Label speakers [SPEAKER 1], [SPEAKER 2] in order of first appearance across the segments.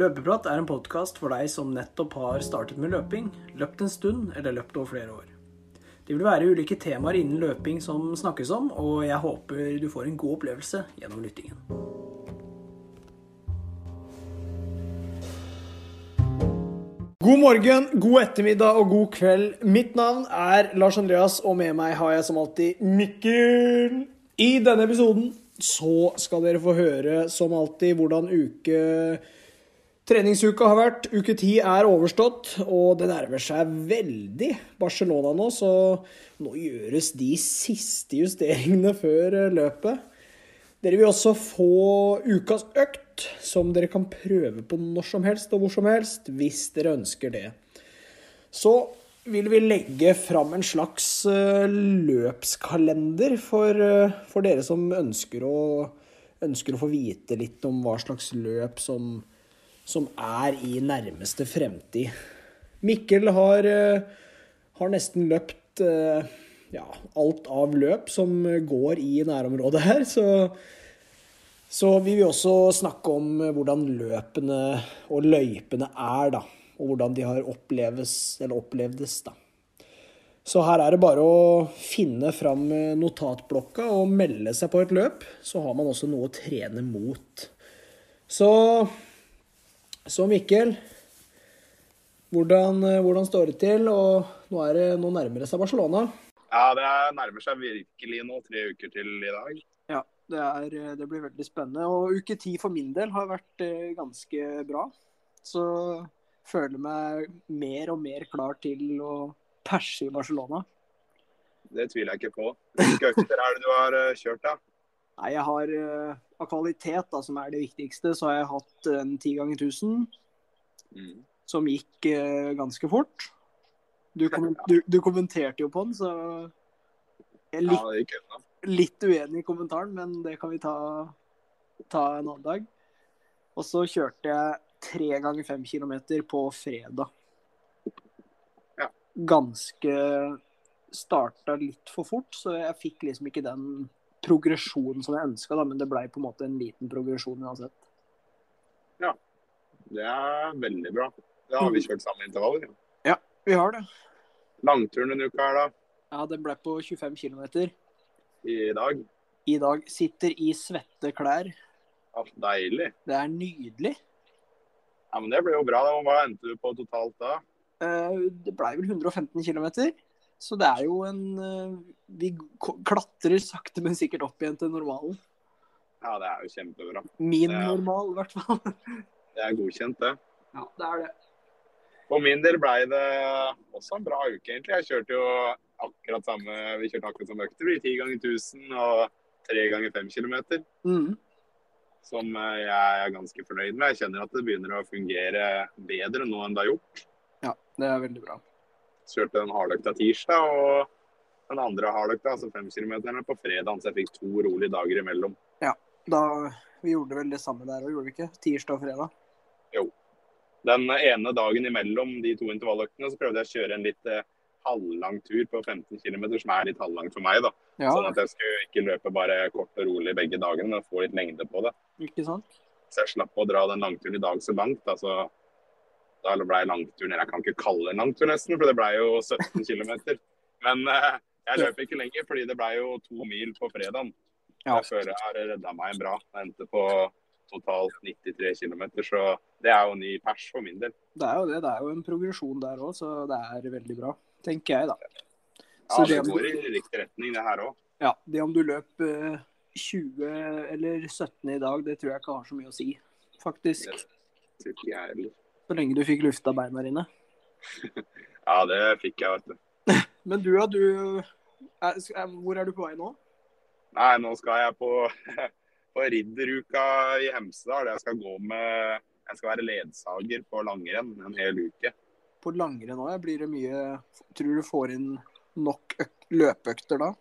[SPEAKER 1] Løpeprat er en podkast for deg som nettopp har startet med løping, løpt en stund eller løpt over flere år. Det vil være ulike temaer innen løping som snakkes om, og jeg håper du får en god opplevelse gjennom lyttingen.
[SPEAKER 2] God morgen, god ettermiddag og god kveld. Mitt navn er Lars Andreas, og med meg har jeg som alltid Mikkel. I denne episoden så skal dere få høre som alltid hvordan uke treningsuka har vært. Uke ti er overstått, og det nærmer seg veldig Barcelona nå, så nå gjøres de siste justeringene før eh, løpet. Dere vil også få ukas økt, som dere kan prøve på når som helst og hvor som helst, hvis dere ønsker det. Så vil vi legge fram en slags eh, løpskalender for, eh, for dere som ønsker å, ønsker å få vite litt om hva slags løp som, som er i nærmeste fremtid. Mikkel har, eh, har nesten løpt eh, ja, alt av løp som går i nærområdet her, så, så vi vil også snakke om eh, hvordan løpene og løypene er, da. Og hvordan de har oppleves, eller opplevdes, da. Så her er det bare å finne fram eh, notatblokka og melde seg på et løp. Så har man også noe å trene mot. Så Så Mikkel, hvordan, eh, hvordan står det til? Og nå, er det, nå nærmer det seg Barcelona.
[SPEAKER 3] Ja, det er- nærmer seg virkelig nå, tre uker til i dag.
[SPEAKER 2] Ja, det, er, eh, det blir veldig spennende. Og uke ti for min del har vært eh, ganske bra. Så føler meg mer og mer klar til å perse i Barcelona.
[SPEAKER 3] Det tviler jeg ikke på. Hvilke økter er det du har eh, kjørt, da?
[SPEAKER 2] Nei, jeg har eh, av kvalitet, da, som er det viktigste, så har jeg hatt en ti ganger 1000
[SPEAKER 3] Mm.
[SPEAKER 2] som gikk eh, ganske fort. Du, kommen- du, du kommenterte jo på den, så jeg er litt,
[SPEAKER 3] Ja, det gikk unna.
[SPEAKER 2] litt uenig i kommentaren, men det kan vi ta, ta en annen dag. Og så kjørte jeg tre ganger fem kilometer på fredag.
[SPEAKER 3] Ja.
[SPEAKER 2] Ganske starta litt for fort, så jeg fikk liksom ikke den progresjonen som jeg ønska, men det blei på en måte en liten progresjon uansett.
[SPEAKER 3] Det er veldig bra. Da har vi kjørt samme intervaller.
[SPEAKER 2] Vi har det.
[SPEAKER 3] Langturen denne uka her, da.
[SPEAKER 2] Ja, det blei på 25 km
[SPEAKER 3] I dag.
[SPEAKER 2] i dag. Sitter i svette klær.
[SPEAKER 3] Ja, deilig.
[SPEAKER 2] Det er nydelig.
[SPEAKER 3] Ja, men Det ble jo bra. da. Hva endte du på totalt da?
[SPEAKER 2] Eh, Det blei vel 115 km. Så det er jo en eh, Vi k- klatrer sakte, men sikkert opp igjen til normalen.
[SPEAKER 3] Ja, det er jo kjempebra.
[SPEAKER 2] Min
[SPEAKER 3] Ja.
[SPEAKER 2] normal, i hvert fall.
[SPEAKER 3] Det er godkjent, det.
[SPEAKER 2] Ja, det er det.
[SPEAKER 3] For min del blei det også en bra uke, egentlig. Jeg kjørte jo akkurat samme Vi kjørte akkurat samme økter. Det blir Ti ganger 1000 og tre ganger fem kilometer.
[SPEAKER 2] Mm.
[SPEAKER 3] som eh, jeg er ganske fornøyd med. Jeg kjenner at det begynner å fungere bedre nå enn det har gjort.
[SPEAKER 2] Ja, det er veldig bra.
[SPEAKER 3] Så kjørte jeg den hardløkta tirsdag og den andre hardløkta, altså femkilometerne, på fredag. Så jeg fikk to rolige dager imellom.
[SPEAKER 2] Da, vi gjorde vel det samme der òg, gjorde vi ikke? Tirsdag og fredag.
[SPEAKER 3] Den ene dagen imellom de to intervalløktene så prøvde jeg å kjøre en litt eh, halvlang tur på 15 km, som er litt halvlangt for meg. da.
[SPEAKER 2] Ja,
[SPEAKER 3] Sånn at jeg skulle ikke løpe bare kort og rolig begge dagene, men få litt lengde på det.
[SPEAKER 2] ikke sant?
[SPEAKER 3] Så jeg slapp å dra den langturen i dag så langt. altså... Da ble langturen, eller jeg kan ikke kalle det en langtur nesten, for det ble jo 17 km. Men eh, jeg løp ikke lenger, fordi det ble jo to mil på fredagen.
[SPEAKER 2] Ja.
[SPEAKER 3] Jeg føler jeg har redda meg bra. Jeg endte på totalt 93 km, så det er jo ny pers for min del.
[SPEAKER 2] Det er jo det. Det er jo en progresjon der òg, så det er veldig bra. Tenker jeg, da.
[SPEAKER 3] Ja,
[SPEAKER 2] Så
[SPEAKER 3] det
[SPEAKER 2] det-
[SPEAKER 3] går i riktig retning, det her òg.
[SPEAKER 2] Ja, Det om du løp eh, 20 eller 17 i dag, det tror jeg ikke har så mye å si, faktisk.
[SPEAKER 3] Ja,
[SPEAKER 2] Så lenge du fikk lufta beina dine.
[SPEAKER 3] det fikk jeg, vet du.
[SPEAKER 2] Men du, ja, du er, er, Hvor er du på vei nå?
[SPEAKER 3] Nei, nå skal jeg på, på ridderuka i Hemsedal. Jeg skal gå med Jeg skal være ledsager på langrenn en hel uke.
[SPEAKER 2] På langrenn òg? Blir det mye Tror du får inn nok øk løpeøkter da?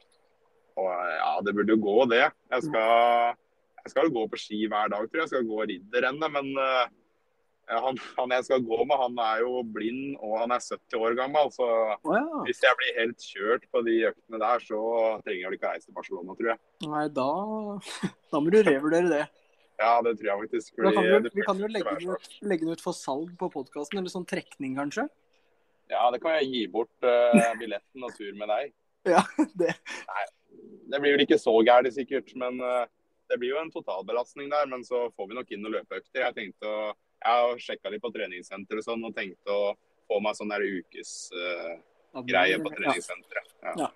[SPEAKER 3] Og ja, det burde jo gå, det.
[SPEAKER 2] Mm.
[SPEAKER 3] Jeg skal, jeg skal jo gå på ski hver dag, tror jeg. Jeg skal gå ridderrennet. Men eh, han, han jeg skal gå med, han er jo blind, og han er 70 år gammel. Så
[SPEAKER 2] Å ja.
[SPEAKER 3] hvis jeg blir helt kjørt på de øktene der, så trenger jeg vel ikke reise til Barcelona, tror jeg.
[SPEAKER 2] Nei, da Da må du revurdere det.
[SPEAKER 3] Ja, det tror jeg faktisk.
[SPEAKER 2] Da kan
[SPEAKER 3] blir-
[SPEAKER 2] vi, jo-
[SPEAKER 3] det sånn.
[SPEAKER 2] vi kan jo
[SPEAKER 3] faktisk
[SPEAKER 2] legge
[SPEAKER 3] være
[SPEAKER 2] den ut, legge den ut for salg på podkasten, eller sånn trekning, kanskje.
[SPEAKER 3] Ja, det kan jeg gi bort eh, billetten og tur med deg.
[SPEAKER 2] Ja, det.
[SPEAKER 3] Nei, det blir vel ikke så gærent sikkert, men eh, det blir jo en totalbelastning der. Men så får vi nok inn noen løpeøkter. Jeg tenkte å, jeg har sjekka litt på treningssenter og sånn, og tenkte å få meg sånn der ukesgreie
[SPEAKER 2] Ja, det-
[SPEAKER 3] på treningssenteret. Ja,
[SPEAKER 2] Ja,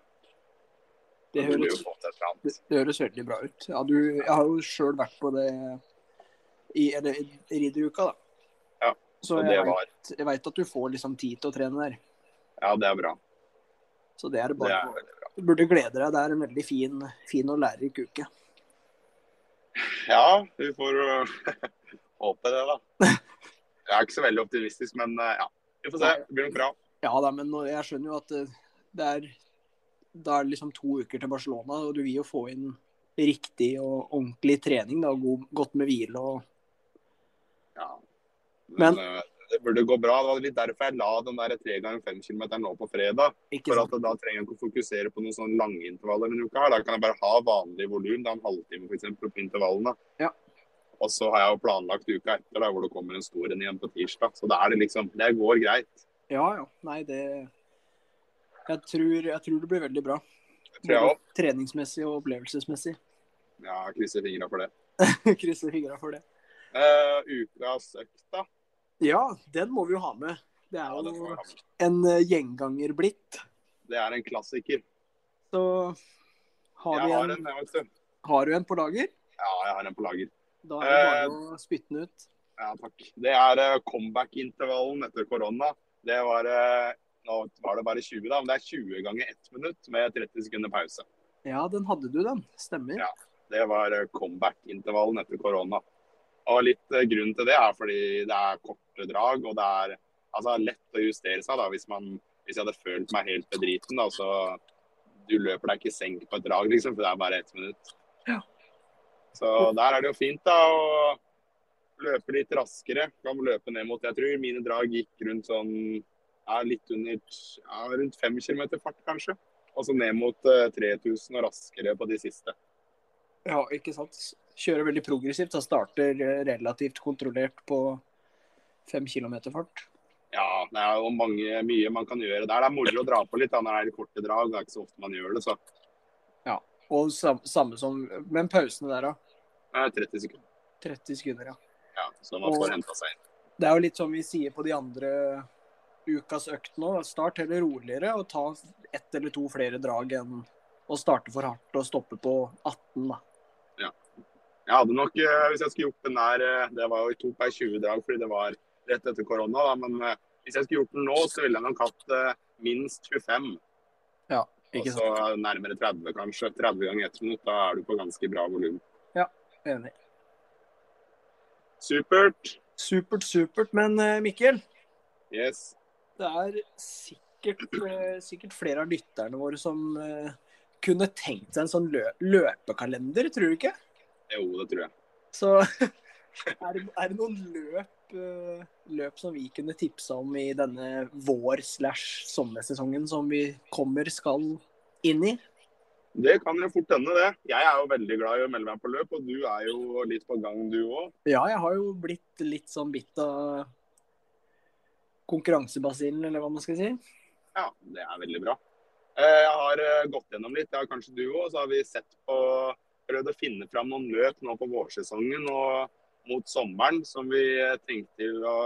[SPEAKER 2] det
[SPEAKER 3] det burde jo
[SPEAKER 2] høres
[SPEAKER 3] fått et eller annet.
[SPEAKER 2] Det, det høres veldig bra ut. Ja, du, jeg har jo sjøl vært på det i eller, i ridderuka, da.
[SPEAKER 3] Ja,
[SPEAKER 2] Så
[SPEAKER 3] Og
[SPEAKER 2] jeg,
[SPEAKER 3] det
[SPEAKER 2] vet-
[SPEAKER 3] var
[SPEAKER 2] jeg veit at du får liksom tid til å trene der.
[SPEAKER 3] Ja, det er bra.
[SPEAKER 2] Så det er det
[SPEAKER 3] Det
[SPEAKER 2] bare
[SPEAKER 3] er
[SPEAKER 2] å-
[SPEAKER 3] veldig bra.
[SPEAKER 2] Du burde glede deg. Det er en veldig fin, fin og lærerik uke.
[SPEAKER 3] Ja, vi får eh, håpe det, da. Jeg er ikke så veldig optimistisk, men eh, ja. Vi får se. Det blir nok bra.
[SPEAKER 2] Ja da, men nå- jeg skjønner jo at eh, det er Da er det liksom to uker til Barcelona, og du vil jo få inn riktig og ordentlig trening. da, og god, Godt med hvile og
[SPEAKER 3] Ja. Men,
[SPEAKER 2] Men-
[SPEAKER 3] eh, det burde gå bra. Det var litt derfor jeg la den der 3 ganger 5 km nå på fredag.
[SPEAKER 2] ikke
[SPEAKER 3] For
[SPEAKER 2] sant?
[SPEAKER 3] at da trenger jeg ikke å fokusere på noen sånne lange intervaller denne uka. her. Da kan jeg bare ha vanlig volum, da en halvtime for eksempel, på intervallene.
[SPEAKER 2] Ja.
[SPEAKER 3] Og så har jeg jo planlagt uka etter, da, hvor det kommer en stor en igjen på tirsdag. Så da er det liksom Det går greit.
[SPEAKER 2] Ja ja. Nei, det jeg tror, jeg tror det blir veldig bra.
[SPEAKER 3] Det tror
[SPEAKER 2] Mm.
[SPEAKER 3] jeg òg.
[SPEAKER 2] Treningsmessig og opplevelsesmessig.
[SPEAKER 3] Ja, jeg krysser fingra for det.
[SPEAKER 2] Krysser fingra for det.
[SPEAKER 3] Eh, ukas økt, da.
[SPEAKER 2] Ja, den må vi jo ha med. Det er
[SPEAKER 3] Ja, den
[SPEAKER 2] jo
[SPEAKER 3] får jeg ha med.
[SPEAKER 2] en eh, gjenganger blitt.
[SPEAKER 3] det er en klassiker.
[SPEAKER 2] Så har,
[SPEAKER 3] Jeg
[SPEAKER 2] vi
[SPEAKER 3] har
[SPEAKER 2] en,
[SPEAKER 3] en, jeg, vet du.
[SPEAKER 2] har du en på lager?
[SPEAKER 3] Ja, jeg har en på lager.
[SPEAKER 2] Da er det
[SPEAKER 3] Eh,
[SPEAKER 2] bare å spytte den ut.
[SPEAKER 3] Ja, takk. Det er eh, comeback-intervallen etter korona. Det var eh, Nå var det bare 20, da, men det er 20 ganger 1 minutt med 30 sekunder pause.
[SPEAKER 2] Ja, den hadde du, den. Stemmer.
[SPEAKER 3] Ja. Det var eh, comeback-intervallen etter korona. Og litt eh, grunnen til det er fordi det er korte drag, og det er altså, lett å justere seg da, hvis, man, hvis jeg hadde følt meg helt bedriten. Da, så du løper deg ikke i senk på et drag, liksom, for det er bare ett minutt.
[SPEAKER 2] Ja.
[SPEAKER 3] Så der er det jo fint da, å løpe litt raskere. Kan løpe ned mot Jeg tror mine drag gikk rundt sånn ja, litt under ja, rundt 5 km fart, kanskje. Og så ned mot eh, 3000 og raskere på de siste.
[SPEAKER 2] Ja, ikke sant. Kjører veldig progressivt. Da starter eh, relativt kontrollert på fem kilometer fart.
[SPEAKER 3] Ja, det er jo mange, mye man kan gjøre der. Det er moro å dra på litt da, når det er korte drag. Det er ikke så ofte man gjør det. så
[SPEAKER 2] Og sam, samme som Men pausene der, da?
[SPEAKER 3] det er 30 sekunder.
[SPEAKER 2] 30 sekunder, ja.
[SPEAKER 3] Ja, så man får henta seg inn.
[SPEAKER 2] Det er jo litt som vi sier på de andre ukas økt nå. Start heller roligere og ta ett eller to flere drag enn å starte for hardt og stoppe på 18. da.
[SPEAKER 3] Jeg hadde nok, eh, hvis jeg skulle gjort den der eh, Det var jo i to per 20-drag fordi det var rett etter korona, da. Men eh, hvis jeg skulle gjort den nå, så ville jeg nok hatt eh, minst 25. Og
[SPEAKER 2] Ikke
[SPEAKER 3] så
[SPEAKER 2] sant?
[SPEAKER 3] nærmere 30, kanskje. 30 ganger ett minutt. Da er du på ganske bra volum.
[SPEAKER 2] Enig.
[SPEAKER 3] Supert.
[SPEAKER 2] Supert, supert. Men eh, Mikkel,
[SPEAKER 3] Yes.
[SPEAKER 2] det er sikkert, eh, sikkert flere av lytterne våre som eh, kunne tenkt seg en sånn lø løpekalender, tror du ikke?
[SPEAKER 3] Jo, det tror jeg.
[SPEAKER 2] Så er det, er det noen løp, eh, løp som vi kunne tipsa om i denne vår-slash-sommersesongen som vi kommer skal inn i?
[SPEAKER 3] Det kan jo fort hende, det. Jeg er jo veldig glad i å melde meg på løp, og du er jo litt på gang, du òg.
[SPEAKER 2] Ja, jeg har jo blitt litt sånn bitt av konkurransebasillen, eller hva man skal si.
[SPEAKER 3] Ja, det er veldig bra. Eh, Jeg har eh, gått gjennom litt, ja, kanskje du òg. Så har vi sett på prøvd å finne fram noen løp nå på vårsesongen og mot sommeren som vi eh, tenkte til å,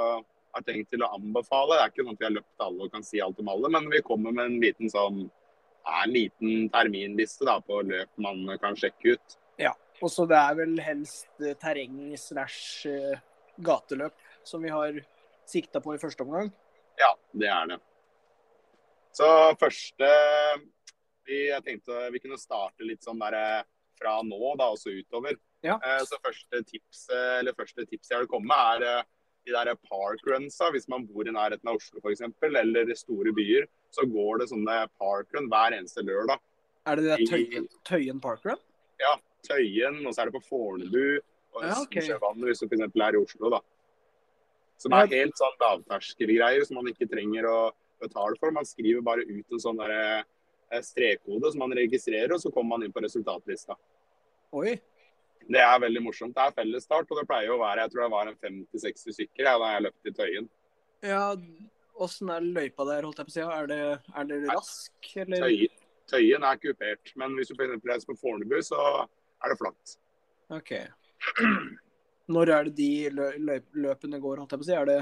[SPEAKER 3] har tenkt til å anbefale. Det er ikke sånn at vi har løpt alle og kan si alt om alle, men vi kommer med en liten sånn ja, en liten terminliste da, på løp man kan sjekke ut.
[SPEAKER 2] Og så det er vel helst eh, terreng slash eh, gateløp som vi har sikta på i første omgang.
[SPEAKER 3] Ja, det er det. Så første vi, Jeg tenkte vi kunne starte litt sånn der eh, fra nå da, og så utover.
[SPEAKER 2] Ja.
[SPEAKER 3] Eh, Så første tips, eh, eller første tips jeg vil komme med, er eh, de der parkrunsa. Hvis man bor i nærheten av Oslo f.eks., eller i store byer, så går det sånne parkrun hver eneste lørdag.
[SPEAKER 2] Er det det der Tøyen, tøyen Parkrun?
[SPEAKER 3] Tøyen, og så er det på Fornebu og
[SPEAKER 2] Ja, ok.
[SPEAKER 3] Østensjøvannet, hvis du for eksempel er i Oslo, da. Som
[SPEAKER 2] Ja.
[SPEAKER 3] er helt sånn lavterskelgreier som man ikke trenger å betale for. Man skriver bare ut en sånn derre eh, strekkode som man registrerer, og så kommer man inn på resultatlista.
[SPEAKER 2] Oi,
[SPEAKER 3] Det er veldig morsomt. Det er fellesstart, og det pleier å være jeg tror det var en 50-60 stykker jeg, da jeg løp i Tøyen.
[SPEAKER 2] Ja, åssen er løypa der, holdt jeg på å si? Er det, er det rask, eller?
[SPEAKER 3] Tøyen. Tøyen er kupert, men hvis du for eksempel reiser på Fornebu, så er det flatt.
[SPEAKER 2] OK. Når er det de lø løp løpene går, holdt jeg på å si? Er det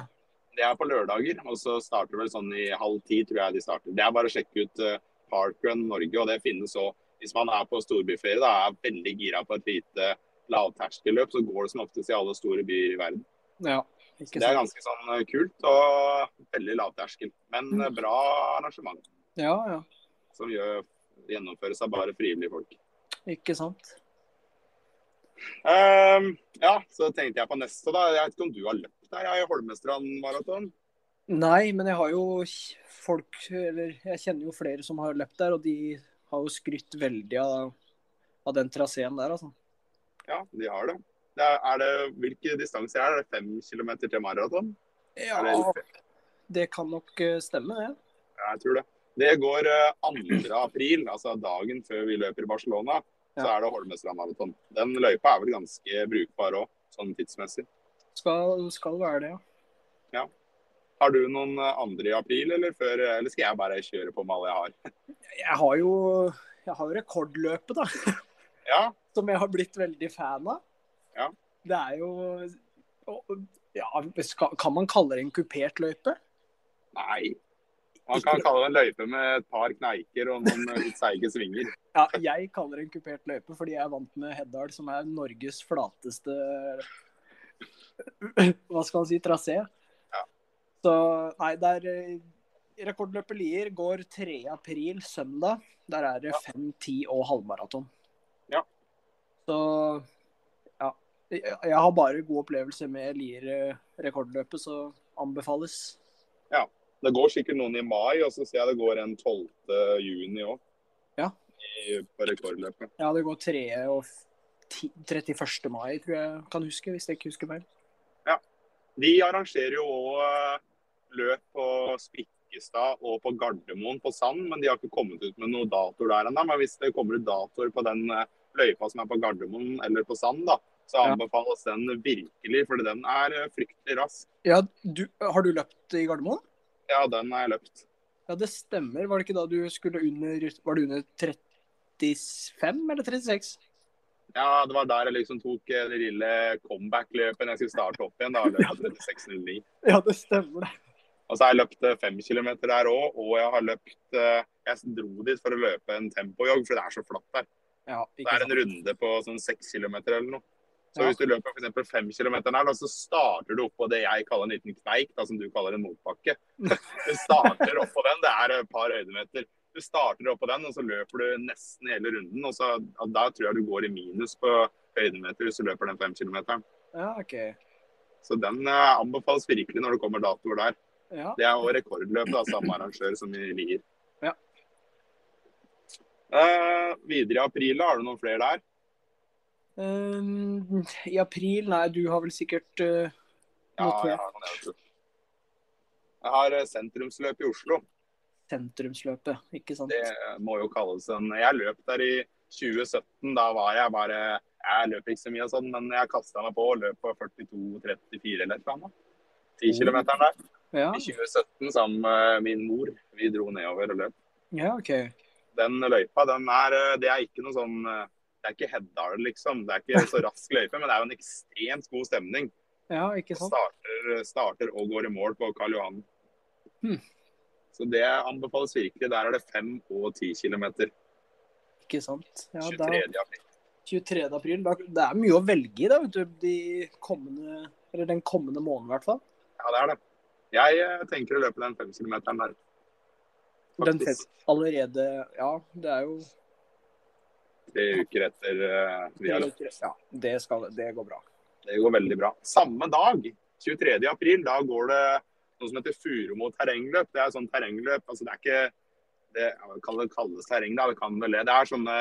[SPEAKER 3] Det er på lørdager, og så starter vel sånn i halv ti, tror jeg de starter. Det er bare å sjekke ut eh, Parkrun Norge, og det finnes òg. Hvis man er på storbyferie da er veldig gira på et lite lavterskelløp, så går det som oftest i alle store byer i verden.
[SPEAKER 2] Ja. Ikke
[SPEAKER 3] Det er
[SPEAKER 2] sant?
[SPEAKER 3] ganske sånn eh, kult og veldig lavterskel, men eh,
[SPEAKER 2] Mm.
[SPEAKER 3] bra arrangement
[SPEAKER 2] Ja, ja.
[SPEAKER 3] som gjør, gjennomføres av bare frivillige folk.
[SPEAKER 2] Ikke sant.
[SPEAKER 3] Ehm, ja, så tenkte jeg på neste, da. Jeg vet ikke om du har løpt der, jeg, i Holmestrand maraton?
[SPEAKER 2] Nei, men jeg har jo k- folk Eller jeg kjenner jo flere som har løpt der, og de har jo skrytt veldig av, av den traseen der, altså.
[SPEAKER 3] Ja, de har det. det er, er det hvilke distanser er det? Er det Fem kilometer til maraton?
[SPEAKER 2] Ja,
[SPEAKER 3] Eller-
[SPEAKER 2] det kan nok eh, stemme, det.
[SPEAKER 3] Ja, jeg tror det. Det går eh, 2. april, altså dagen før vi løper i Barcelona. Så
[SPEAKER 2] Ja.
[SPEAKER 3] er det Holmestrand maraton. Den løypa er vel ganske brukbar òg, sånn tidsmessig.
[SPEAKER 2] Skal, skal være det, ja.
[SPEAKER 3] Har du noen eh, andre i april, eller før? eh, Eller skal jeg bare kjøre på med alle jeg har?
[SPEAKER 2] Jeg har jo jeg har jo rekordløpet, da.
[SPEAKER 3] Ja,
[SPEAKER 2] Som jeg har blitt veldig fan av.
[SPEAKER 3] Ja.
[SPEAKER 2] Det er jo og- ja, skal, Kan man kalle det en kupert løype?
[SPEAKER 3] Nei. Man kan kalle det en løype med et par kneiker og noen eh, litt seige svinger.
[SPEAKER 2] Ja, jeg kaller det en kupert løype fordi jeg er vant med Heddal, som er Norges flateste Hva skal man si trasé. Så nei, det er eh, Rekordløpet Lier går 3. april, søndag. Der er det 5, 10 og halvmaraton.
[SPEAKER 3] Ja.
[SPEAKER 2] Så ja. Jeg jeg har bare god opplevelse med Lier-rekordløpet, så anbefales.
[SPEAKER 3] Det går sikkert noen i mai, og så ser jeg det går en 12. juni òg.
[SPEAKER 2] Ja.
[SPEAKER 3] På rekordløpet.
[SPEAKER 2] Ja, det går 3. og f- 10 31. mai, tror jeg kan huske, hvis jeg ikke husker feil.
[SPEAKER 3] De arrangerer jo òg løp på Spikkestad og på Gardermoen på Sand, men de har ikke kommet ut med noen datoer der ennå. Men hvis det kommer ut datoer på den eh, løypa som er på Gardermoen eller på Sand, da, så
[SPEAKER 2] Ja.
[SPEAKER 3] anbefales den virkelig, for den er eh, fryktelig rask.
[SPEAKER 2] Ja, du, har du løpt i Gardermoen?
[SPEAKER 3] Ja, den har jeg løpt.
[SPEAKER 2] Ja, det stemmer. Var det ikke da du skulle under Var det under 35 eller 36?
[SPEAKER 3] Ja, det var der jeg liksom tok eh, det lille comeback-løpet når jeg skulle starte opp igjen. da, løpet 36.09.
[SPEAKER 2] Ja, det stemmer. det.
[SPEAKER 3] Og så har jeg løpt eh, fem kilometer der òg, og jeg har løpt eh, Jeg dro dit for å løpe en tempojogg, for det er så flatt der.
[SPEAKER 2] Ja,
[SPEAKER 3] Det
[SPEAKER 2] ikke
[SPEAKER 3] er en
[SPEAKER 2] sant.
[SPEAKER 3] runde på sånn seks kilometer eller noe. Så
[SPEAKER 2] Ja.
[SPEAKER 3] hvis du løper for eksempel fem kilometer der, da, så starter du oppå det jeg kaller en liten kneik, da, som du kaller en motbakke. Du starter oppå den, det er et par høydemeter. Du starter oppå den, og så løper du nesten hele runden. og så, ja, Da tror jeg du går i minus på høydemeter hvis du løper den fem kilometeren.
[SPEAKER 2] Ja, OK.
[SPEAKER 3] Så den eh, anbefales virkelig når det kommer datoer der.
[SPEAKER 2] Ja.
[SPEAKER 3] Det er jo rekordløp, da, samme arrangør som i Lier.
[SPEAKER 2] Ja.
[SPEAKER 3] Eh, videre i april, da, har du noen flere der?
[SPEAKER 2] Ehm, I april Nei, du har vel sikkert eh,
[SPEAKER 3] Ja,
[SPEAKER 2] Noe til.
[SPEAKER 3] jeg har noen jeg vet du. Jeg har eh, sentrumsløp i Oslo.
[SPEAKER 2] sentrumsløpet, ikke sant?
[SPEAKER 3] Det må jo kalles en Jeg løp der i 2017. Da var jeg bare Jeg løp ikke så mye og sånn, men jeg kasta meg på og løp på 42-34 eller et eller annet. 10 km der.
[SPEAKER 2] Ja,
[SPEAKER 3] I 2017 sammen med min mor. Vi dro nedover og løp.
[SPEAKER 2] ja OK.
[SPEAKER 3] den løypa, den er eh, Det er ikke noe sånn eh, Det er ikke Heddal, liksom. Det er ikke så rask løype, men det er jo en ekstremt god stemning.
[SPEAKER 2] Ja, ikke sant?
[SPEAKER 3] Starter, eh, starter og går i mål på Karl Johan.
[SPEAKER 2] Hmm.
[SPEAKER 3] Så det anbefales virkelig. Der er det 5 og 10 km.
[SPEAKER 2] Ikke sant? Ja, da,
[SPEAKER 3] 23. april.
[SPEAKER 2] 23. april. Da, det er mye å velge i, da, vet du. De kommende Eller den kommende måneden, i hvert fall.
[SPEAKER 3] Ja, det er det. Jeg eh, tenker å løpe den 5 km der.
[SPEAKER 2] Den
[SPEAKER 3] Faktisk.
[SPEAKER 2] fest allerede Ja, det er jo
[SPEAKER 3] Tre uker etter eh, vi har løpt.
[SPEAKER 2] Ja, det, skal, det går bra.
[SPEAKER 3] Det går veldig bra. Samme dag, 23. april, da går det noe som heter Furumo terrengløp. Det er sånn terrengløp, altså det er ikke det ja, kan det kalles terreng, da. Det kan vel det. Det er sånne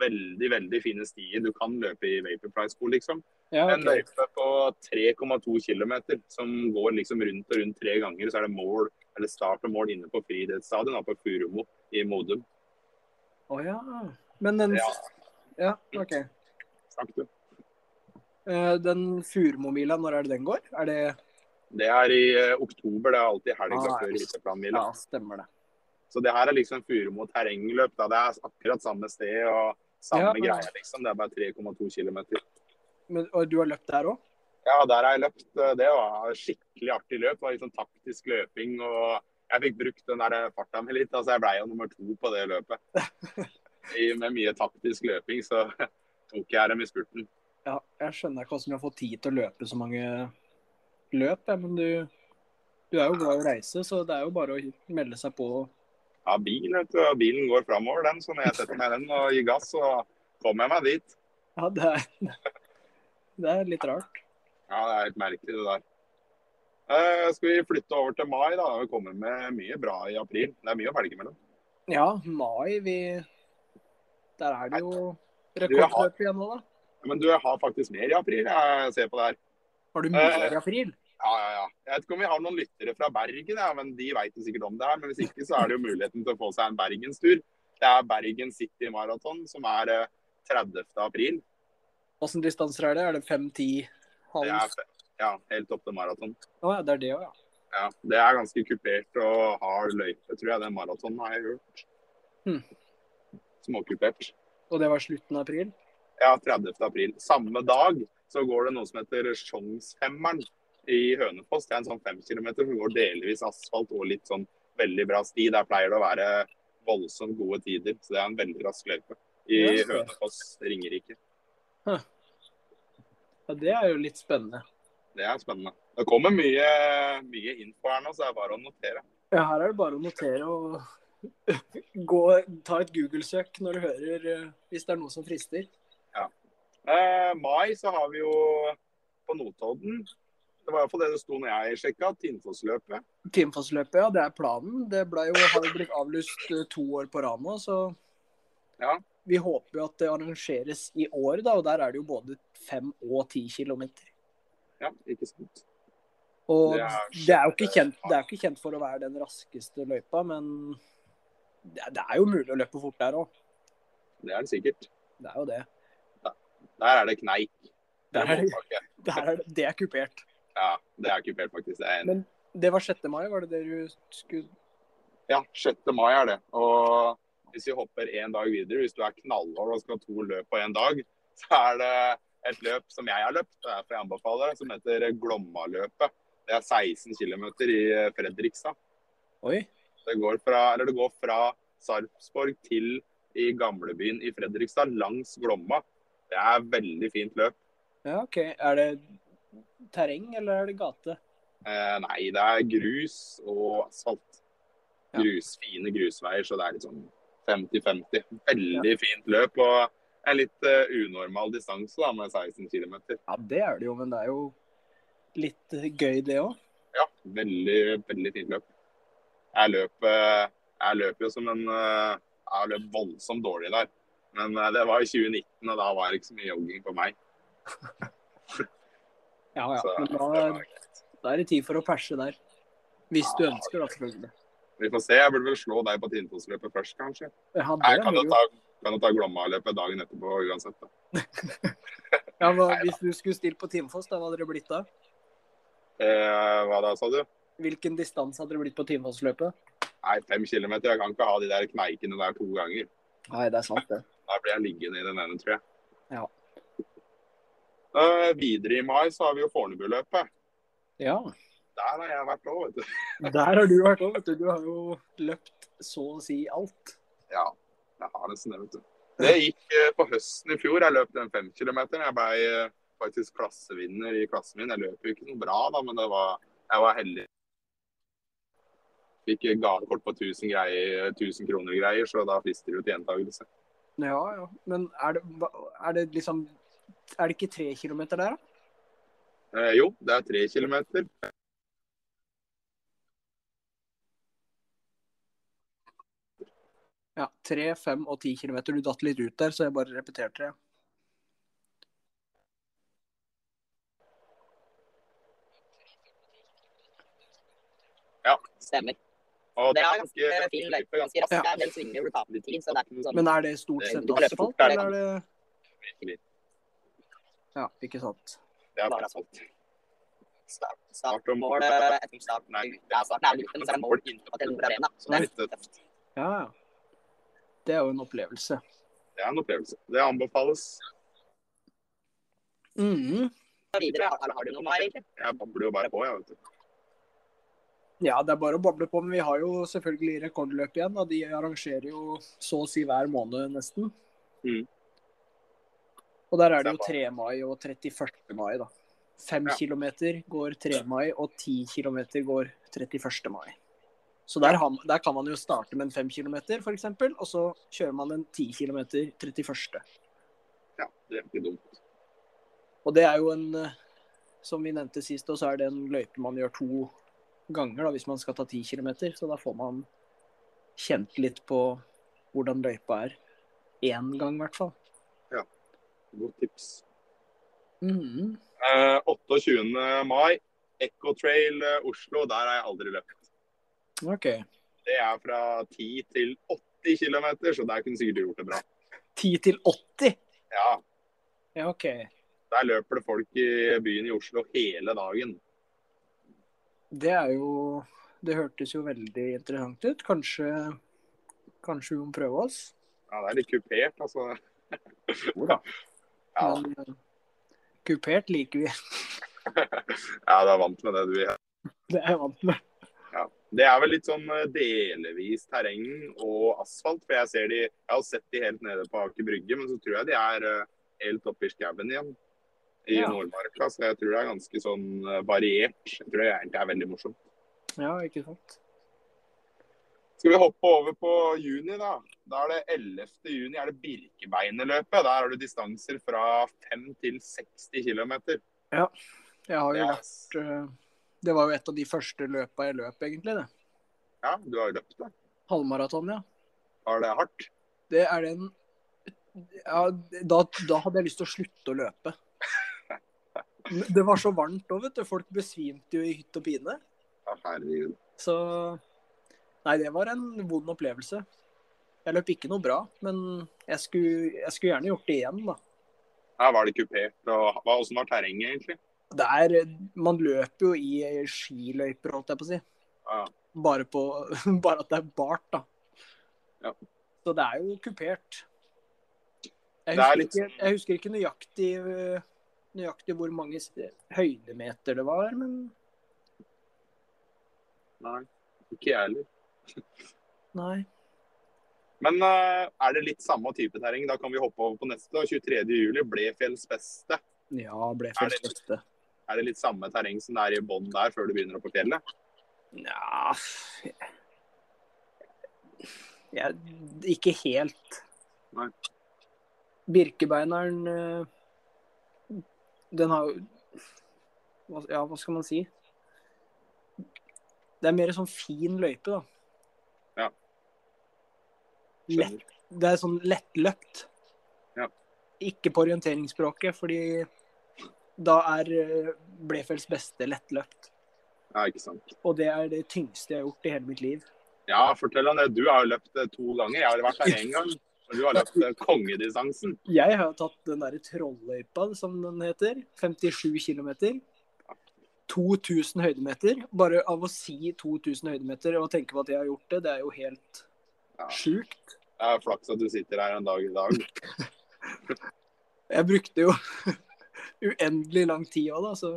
[SPEAKER 3] veldig, veldig fine stier. Du kan løpe i Vaporfly-sko, liksom.
[SPEAKER 2] Ja,
[SPEAKER 3] En
[SPEAKER 2] ok.
[SPEAKER 3] løype på 3,2 km som går liksom rundt og rundt tre ganger. Så er det mål, eller start og mål inne på friidrettsstadion da, på Furumo i Modum.
[SPEAKER 2] Å ja. Men den
[SPEAKER 3] Ja,
[SPEAKER 2] ja. OK.
[SPEAKER 3] snakk du.
[SPEAKER 2] Eh, Den Furumomila, når er det den går? Er det
[SPEAKER 3] Det er i eh, oktober, det er alltid helga
[SPEAKER 2] Ah,
[SPEAKER 3] før
[SPEAKER 2] ja.
[SPEAKER 3] Hytteplanmila.
[SPEAKER 2] Ja, stemmer det.
[SPEAKER 3] Så det her er liksom Furumo terrengløp. Da. Det er akkurat samme sted og samme
[SPEAKER 2] Ja, men-
[SPEAKER 3] greia, liksom. Det er bare 3,2 km.
[SPEAKER 2] Men, og du har løpt der òg?
[SPEAKER 3] Ja, der har jeg løpt. eh, Det var skikkelig artig løp. Det var liksom taktisk løping. og Jeg fikk brukt den der farta mi litt. altså Jeg blei jo nummer to på det løpet. I, med mye taktisk løping, så tok jeg dem i spurten.
[SPEAKER 2] Ja, jeg skjønner ikke hvordan du har fått tid til å løpe så mange løp, jeg, men du, du er jo glad i å reise, så det er jo bare å melde seg på.
[SPEAKER 3] Ja, bil, vet du. og Bilen går framover, den. Så når jeg setter meg i den og gir gass, så kommer jeg meg dit.
[SPEAKER 2] Ja, det er, det er litt rart.
[SPEAKER 3] Ja, det er helt merkelig, det der. Eh, skal vi flytte over til mai, da? Vi kommer med mye bra i april. Det er mye å velge mellom.
[SPEAKER 2] Ja, mai, vi Der er det jo
[SPEAKER 3] jeg har-
[SPEAKER 2] rekordløp igjen nå, da.
[SPEAKER 3] Men du, jeg har faktisk mer i april. Jeg ser på det her.
[SPEAKER 2] Har du mye i april?
[SPEAKER 3] Ja, ja, ja. Jeg vet ikke om vi har noen lyttere fra Bergen, ja, men de vet jo sikkert om det her. Men hvis ikke, så er det jo muligheten til å få seg en bergenstur. Det er Bergen City Marathon, som er eh, 30. april.
[SPEAKER 2] Åssen distanser er det? Er det 5-10?
[SPEAKER 3] Det
[SPEAKER 2] Halv?
[SPEAKER 3] er fe- ja, helt opp til maraton.
[SPEAKER 2] Å ja, det er det òg, ja.
[SPEAKER 3] Ja, det er ganske kupert og hard løype, tror jeg. Den maratonen har jeg hørt.
[SPEAKER 2] Hmm.
[SPEAKER 3] Småkupert.
[SPEAKER 2] Og det var slutten av april?
[SPEAKER 3] Ja, 30. april. Samme dag så går det noe som heter Sjongsfemmeren i Hønefoss. Det er en sånn fem kilometer som går delvis asfalt og litt sånn veldig bra sti. Der pleier det å være voldsomt gode tider, så det er en veldig rask løype i
[SPEAKER 2] Ja, så.
[SPEAKER 3] Hønefoss, Ringerike.
[SPEAKER 2] Ja, Det er jo litt spennende.
[SPEAKER 3] Det er spennende. Det kommer mye, mye info her nå, så det er bare å notere.
[SPEAKER 2] Ja, her er det bare å notere og gå, ta et Google-søk når du hører eh, hvis det er noe som frister.
[SPEAKER 3] Eh, mai så har vi jo på Notodden. Det var iallfall det det sto når jeg sjekka, Tinnfoss-løpet.
[SPEAKER 2] Timefoss-løpet, ja, det er planen. Det ble jo, har jo blitt avlyst eh, to år på rad nå, så
[SPEAKER 3] Ja.
[SPEAKER 2] vi håper jo at det arrangeres i år, da. Og der er det jo både fem og ti kilometer.
[SPEAKER 3] Ja, ikke sant.
[SPEAKER 2] Og
[SPEAKER 3] Det
[SPEAKER 2] det
[SPEAKER 3] er
[SPEAKER 2] er, jo ikke kjent, det er jo ikke kjent for å være den raskeste løypa, men det er, det er jo mulig å løpe fort der òg.
[SPEAKER 3] Det er det sikkert.
[SPEAKER 2] Det er jo det.
[SPEAKER 3] Der er det kneik.
[SPEAKER 2] Der er,
[SPEAKER 3] Målpakke.
[SPEAKER 2] der er, det er kupert.
[SPEAKER 3] Ja, det er kupert, faktisk. Det er en...
[SPEAKER 2] Men- Det var 6. mai, var det det du skulle
[SPEAKER 3] Ja, 6. mai er det. Og hvis vi hopper én dag videre, hvis du er knallhard og skal ha to løp på én dag, så er det et løp som jeg har løpt, og derfor jeg anbefaler det, som heter Glommaløpet. Det er 16 km i eh, Fredrikstad.
[SPEAKER 2] Oi.
[SPEAKER 3] Det går fra, eller det går fra Sarpsborg til i gamlebyen i Fredrikstad, langs Glomma. Det er et veldig fint løp.
[SPEAKER 2] Ja, OK. Er det terreng, eller er det gate?
[SPEAKER 3] Eh, nei, det er grus og asfalt.
[SPEAKER 2] Ja.
[SPEAKER 3] Grus, Fine grusveier, så det er litt sånn 50-50. Veldig fint løp og en litt eh, unormal distanse da, med 16 km.
[SPEAKER 2] Ja, det er det jo, men det er jo litt gøy, det òg.
[SPEAKER 3] Ja, veldig, veldig fint løp. Jeg løp, eh, jeg løp jo som en eh, Jeg løp voldsomt dårlig der. Men eh, det var i 2019, og da var det ikke så mye jogging på meg.
[SPEAKER 2] Ja, ja.
[SPEAKER 3] Så,
[SPEAKER 2] Men
[SPEAKER 3] det
[SPEAKER 2] da,
[SPEAKER 3] var greit.
[SPEAKER 2] da er det tid for å perse der. Hvis du ønsker, da, selvfølgelig.
[SPEAKER 3] Vi får se. Jeg burde vel slå deg på Tinnfoss-løpet først, kanskje.
[SPEAKER 2] Ja, det
[SPEAKER 3] Jeg kan jo
[SPEAKER 2] er jo.
[SPEAKER 3] ta, kan jo ta Glomma-løpet dagen etterpå uansett. da.
[SPEAKER 2] Ja, hva, hvis du skulle stilt på Timefoss, da, hva hadde det blitt da?
[SPEAKER 3] Eh, hva da, sa du?
[SPEAKER 2] Hvilken distanse hadde det blitt på Timefoss-løpet?
[SPEAKER 3] Nei, fem kilometer. Jeg kan ikke ha de der kneikene der to ganger.
[SPEAKER 2] Nei, det er sant, det.
[SPEAKER 3] Da blir jeg liggende i den ene, tror jeg.
[SPEAKER 2] Ja.
[SPEAKER 3] Eh, videre i mai så har vi jo Fornebuløpet.
[SPEAKER 2] Ja.
[SPEAKER 3] Der har jeg vært òg, vet du.
[SPEAKER 2] Der har du vært òg, vet du. Du har jo løpt så å si alt.
[SPEAKER 3] Ja, jeg har nesten det, vet du. Det gikk eh, på høsten i fjor. Jeg løp den fem kilometeren. Jeg ble eh, faktisk klassevinner i klassen min. Jeg løp jo ikke noe bra, da, men det var, jeg var heldig. Fikk eh, gavekort på 1000, greier, 1000 kroner greier, så da frister det jo til gjentakelse.
[SPEAKER 2] Ja, ja. Men er det, hva- er det liksom Er det ikke tre kilometer der, da?
[SPEAKER 3] Eh, jo, det er tre kilometer.
[SPEAKER 2] Ja, 3, 5 og 10 km. Du datt litt ut der, så jeg bare repeterte det.
[SPEAKER 4] Stemmer.
[SPEAKER 3] Og
[SPEAKER 4] Det er
[SPEAKER 3] ganske-
[SPEAKER 4] ganske fin løype, ganske rask.
[SPEAKER 2] Ja.
[SPEAKER 4] Det er en del svinger du tar på tid, så det er ikke sånn
[SPEAKER 2] Men er det stort sett asfalt, eller er det
[SPEAKER 3] Virkelig.
[SPEAKER 2] Ja, ikke sant.
[SPEAKER 3] Det er bare sant.
[SPEAKER 4] Start, start og mål eh, etter start. Nei, det er starten er gruppen, så er det mål innenfor Telenor Arena. Så det er litt tøft.
[SPEAKER 2] Ja, ja. Det er jo en opplevelse.
[SPEAKER 3] Det er en opplevelse. Det anbefales.
[SPEAKER 2] Mhm.
[SPEAKER 4] Videre, har, har du noe mer, egentlig?
[SPEAKER 3] Jeg babler jo bare på, jeg, vet du.
[SPEAKER 2] Ja, det er bare å bable på, men vi har jo selvfølgelig rekordløp igjen. Og de arrangerer jo så å si hver måned, nesten.
[SPEAKER 3] Mhm.
[SPEAKER 2] Og der er Mm. det jo 3. mai og 31. mai, da. 5
[SPEAKER 3] Ja.
[SPEAKER 2] km går 3. mai, og 10 km går 31. mai. Så der, har, man- der kan man jo starte med en 5 km, f.eks., og så kjører man en 10 km 31.
[SPEAKER 3] Ja, det er ikke dumt.
[SPEAKER 2] Og det er jo en eh, Som vi nevnte sist, og så er det en løype man gjør to ganger da, hvis man skal ta 10 km. Så da får man kjent litt på hvordan løypa er. Én gang, i hvert fall.
[SPEAKER 3] Godt tips.
[SPEAKER 2] Mhm.
[SPEAKER 3] Eh, 28. mai, Echo Trail eh, Oslo. Der har jeg aldri løpt.
[SPEAKER 2] OK.
[SPEAKER 3] Det er fra 10 til 80 km, så der kunne sikkert du gjort det bra.
[SPEAKER 2] 10 til 80?
[SPEAKER 3] Ja,
[SPEAKER 2] Ja, OK.
[SPEAKER 3] Der løper det folk i byen i Oslo hele dagen.
[SPEAKER 2] Det er jo Det hørtes jo veldig interessant ut. Kanskje Kanskje vi må prøve oss.
[SPEAKER 3] Ja, Det er litt kupert, altså.
[SPEAKER 2] Jo da.
[SPEAKER 3] Ja,
[SPEAKER 2] Men eh, kupert liker vi.
[SPEAKER 3] ja du er vant med det du er.
[SPEAKER 2] Det er jeg vant med.
[SPEAKER 3] Ja. Det er vel litt sånn eh, delvis terreng og asfalt. For jeg ser de Jeg har sett de helt nede på Aker Brygge, men så tror jeg de er eh, helt oppe i skauen igjen. I
[SPEAKER 2] Ja.
[SPEAKER 3] Nordmarka. Så jeg tror det er ganske sånn eh, variert. Jeg tror det egentlig er veldig morsomt.
[SPEAKER 2] Ja, ikke sant.
[SPEAKER 3] Skal vi hoppe over på juni, da? Da er det 11. juni, er det Birkebeinerløpet. Der har du distanser fra 5 til 60 km.
[SPEAKER 2] Jeg har jo
[SPEAKER 3] Ja,
[SPEAKER 2] vært eh, Det var jo et av de første løpa jeg løp, egentlig. det.
[SPEAKER 3] ja, du har jo løpt det.
[SPEAKER 2] Halvmaraton, ja.
[SPEAKER 3] Var det hardt?
[SPEAKER 2] Det er den ja, da, da hadde jeg lyst til å slutte å løpe. Det var så varmt òg, vet du. Folk besvimte jo i hytt og pine.
[SPEAKER 3] Ja, herregud.
[SPEAKER 2] Så Nei, det var en vond opplevelse. Jeg løp ikke noe bra, men jeg skulle, jeg skulle gjerne gjort det igjen, da.
[SPEAKER 3] Ja, var det kupert? Og hva- hvordan var terrenget, egentlig?
[SPEAKER 2] Det er, man løper jo i skiløyper, holdt jeg på å si.
[SPEAKER 3] Ja.
[SPEAKER 2] Bare, på, bare at det er bart, da.
[SPEAKER 3] Ja.
[SPEAKER 2] Så det er jo kupert. Jeg
[SPEAKER 3] Det er
[SPEAKER 2] husker,
[SPEAKER 3] litt
[SPEAKER 2] ikke, jeg husker ikke nøyaktig, øh, nøyaktig hvor mange s- høydemeter det var, men
[SPEAKER 3] Nei, ikke jeg heller.
[SPEAKER 2] nei.
[SPEAKER 3] Men eh, er det litt samme type terreng? Da kan vi hoppe over på neste. og 23. juli, Blefjells beste.
[SPEAKER 2] Ja, ble
[SPEAKER 3] Er
[SPEAKER 2] først
[SPEAKER 3] det-
[SPEAKER 2] beste.
[SPEAKER 3] Er det litt samme terreng som det er i bånn der, før du begynner opp på fjellet?
[SPEAKER 2] Nja jeg, Ikke helt.
[SPEAKER 3] Nei.
[SPEAKER 2] Birkebeineren øh, Den har jo hva- Ja, hva skal man si? Det er mer sånn fin løype, da.
[SPEAKER 3] Ja.
[SPEAKER 2] Lett,
[SPEAKER 3] Skjønner.
[SPEAKER 2] det er sånn lettløpt.
[SPEAKER 3] Ja.
[SPEAKER 2] Ikke på orienteringsspråket, fordi da er øh, Blefjells beste lettløpt.
[SPEAKER 3] Ja, ikke sant.
[SPEAKER 2] Og det er det tyngste jeg har gjort i hele mitt liv.
[SPEAKER 3] Ja, fortell om det. Du har jo løpt det to ganger. Jeg har vært der én gang. Og du har løpt eh, kongedistansen.
[SPEAKER 2] Jeg har tatt den derre trolløypa, som den heter. 57 km. 2000 høydemeter. Bare av å si 2000 høydemeter og tenke på at jeg har gjort det, det er jo helt
[SPEAKER 3] Ja.
[SPEAKER 2] sjukt.
[SPEAKER 3] Det er flaks at du sitter her en dag i dag.
[SPEAKER 2] Jeg brukte jo uendelig lang tid òg, da, så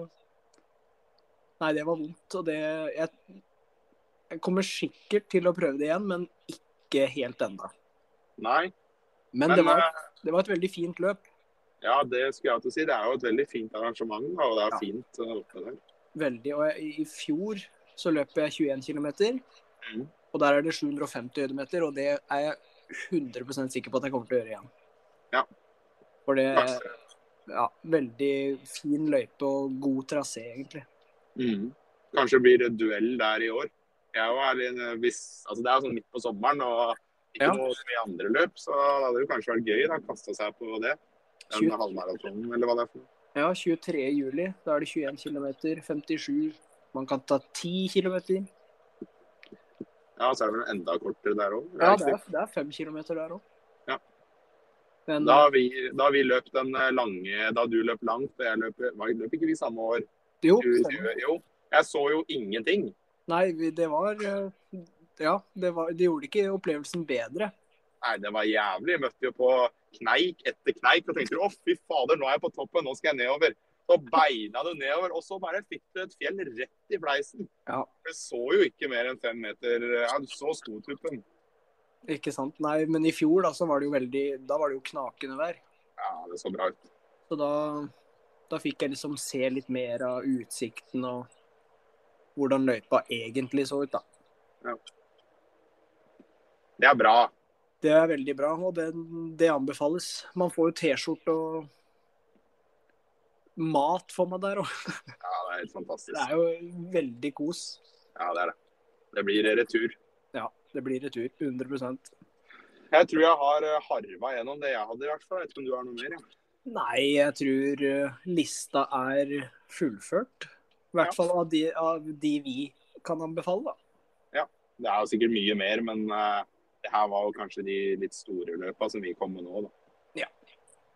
[SPEAKER 2] Nei, det var vondt. Og det jeg, jeg kommer sikkert til å prøve det igjen, men ikke helt ennå.
[SPEAKER 3] Nei.
[SPEAKER 2] Men,
[SPEAKER 3] Men
[SPEAKER 2] det, var,
[SPEAKER 3] eh,
[SPEAKER 2] det var et veldig fint løp.
[SPEAKER 3] ja, det skulle jeg til å si. Det er jo et veldig fint arrangement, da, og det
[SPEAKER 2] Ja.
[SPEAKER 3] er fint eh, oppe der.
[SPEAKER 2] veldig. Og jeg, i fjor så løp jeg 21 km.
[SPEAKER 3] Mhm.
[SPEAKER 2] Og der er det 750 høydemeter, og det er jeg 100 sikker på at jeg kommer til å gjøre igjen.
[SPEAKER 3] Ja.
[SPEAKER 2] For det er
[SPEAKER 3] Flaks.
[SPEAKER 2] ja, veldig fin løype og god trasé, egentlig.
[SPEAKER 3] Mhm. Kanskje blir det duell der i år. Jeg var litt, eh, hvis, altså det er jo sånn midt på sommeren og ikke
[SPEAKER 2] Ja.
[SPEAKER 3] noe så mye andre løp, så det hadde jo kanskje vært gøy da, kaste seg på det. Den
[SPEAKER 2] Shoot.
[SPEAKER 3] halvmaratonen eller hva det er for noe.
[SPEAKER 2] Ja, 23. juli. Da er det 21 km, 57 Man kan ta 10 km.
[SPEAKER 3] Ja, så er det vel enda kortere der òg.
[SPEAKER 2] Ja, det er, det er 5 km der òg.
[SPEAKER 3] Ja.
[SPEAKER 2] Men
[SPEAKER 3] Da vi, da vi løp den eh, lange Da du løp langt, og jeg løp var- Løp ikke vi samme år?
[SPEAKER 2] eh, jo,
[SPEAKER 3] 2020? Jo. Jeg så jo ingenting.
[SPEAKER 2] nei, vi- det var eh, Ja, det, var, det gjorde ikke opplevelsen bedre.
[SPEAKER 3] Nei, det var jævlig. Jeg møtte jo på kneik etter kneik og tenkte å fy fader, nå er jeg på toppen, nå skal jeg nedover. Så beina du nedover, og så bare fikk du et fjell rett i fleisen.
[SPEAKER 2] Ja.
[SPEAKER 3] Du så jo ikke mer enn fem meter. Ja, du så skotuppen.
[SPEAKER 2] Ikke sant? Nei, men i fjor da, så var det jo veldig Da var det jo knakende vær.
[SPEAKER 3] Ja, det så bra ut.
[SPEAKER 2] Så da, da fikk jeg liksom se litt mer av utsikten og hvordan løypa egentlig så ut, da.
[SPEAKER 3] Det er bra.
[SPEAKER 2] Det er veldig bra, og det, det anbefales. Man får jo T-skjorte og mat får man der òg.
[SPEAKER 3] Ja, det er helt fantastisk.
[SPEAKER 2] Det er jo veldig kos.
[SPEAKER 3] Ja, det er det. Det blir eh, retur.
[SPEAKER 2] Ja, det blir retur. 100
[SPEAKER 3] Jeg tror jeg har eh, harva gjennom det jeg hadde, i hvert fall. Jeg vet ikke om du har noe mer? Ja.
[SPEAKER 2] Nei, jeg tror eh, lista er fullført. I hvert
[SPEAKER 3] Ja.
[SPEAKER 2] fall av de, av de vi kan anbefale, da.
[SPEAKER 3] Det er jo sikkert mye mer, men eh, det her var jo kanskje de litt store løpa som vi kom med nå, da.
[SPEAKER 2] Ja.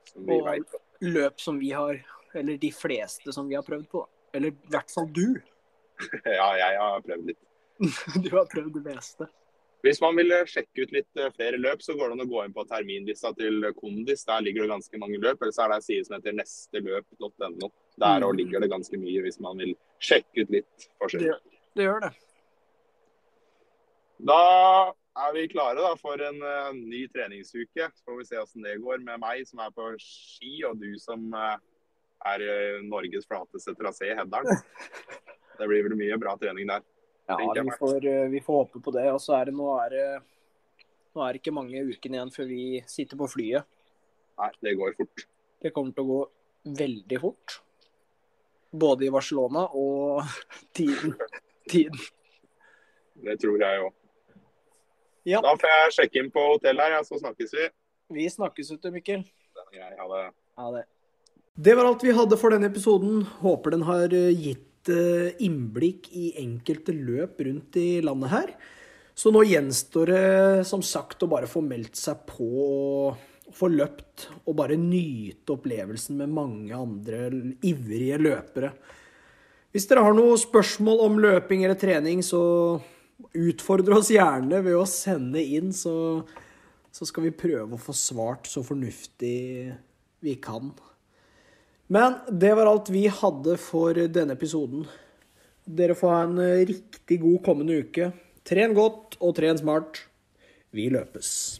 [SPEAKER 3] Som vi
[SPEAKER 2] Og-
[SPEAKER 3] vet.
[SPEAKER 2] Løp som vi har, eller de fleste som vi har prøvd på. da. Eller i hvert fall du.
[SPEAKER 3] Ja, jeg har prøvd litt.
[SPEAKER 2] Du har prøvd det meste.
[SPEAKER 3] Hvis man vil eh, sjekke ut litt eh, flere løp, så går det an å gå inn på terminlista til Kondis. Der ligger det ganske mange løp. Eller så er det ei side som heter nesteløp.no. Der òg ligger det ganske mye, hvis man vil sjekke ut litt forskjellig.
[SPEAKER 2] Det gjør det.
[SPEAKER 3] Da er vi klare da, for en eh, ny treningsuke. Så får vi se åssen det går med meg som er på ski, og du som eh, er eh, Norges flateste trasé, Heddalen. Det blir vel mye bra trening der.
[SPEAKER 2] Ja,
[SPEAKER 3] tenker jeg
[SPEAKER 2] vi
[SPEAKER 3] meg.
[SPEAKER 2] får, eh, vi får håpe på det. Og så er det nå er det nå er det ikke mange ukene igjen før vi sitter på flyet.
[SPEAKER 3] Nei, det går fort.
[SPEAKER 2] Det kommer til å gå veldig fort. Både i Barcelona og tiden. tiden.
[SPEAKER 3] Det tror jeg òg.
[SPEAKER 2] Ja.
[SPEAKER 3] Da får jeg sjekke inn på hotellet her, ja, så snakkes vi.
[SPEAKER 2] Vi snakkes ute, Mikkel.
[SPEAKER 3] Den er grei. Ha det.
[SPEAKER 2] Ha det.
[SPEAKER 5] Det var alt vi hadde for denne episoden. Håper den har eh, gitt eh, innblikk i enkelte løp rundt i landet her. Så nå gjenstår det som sagt å bare få meldt seg på og få løpt og bare nyte opplevelsen med mange andre l- ivrige løpere. Hvis dere har noen spørsmål om løping eller trening, så utfordre oss gjerne ved å sende inn, så, så skal vi prøve å få svart så fornuftig vi kan. Men det var alt vi hadde for denne episoden. Dere får ha en riktig god kommende uke. Tren godt og tren smart. Vi løpes.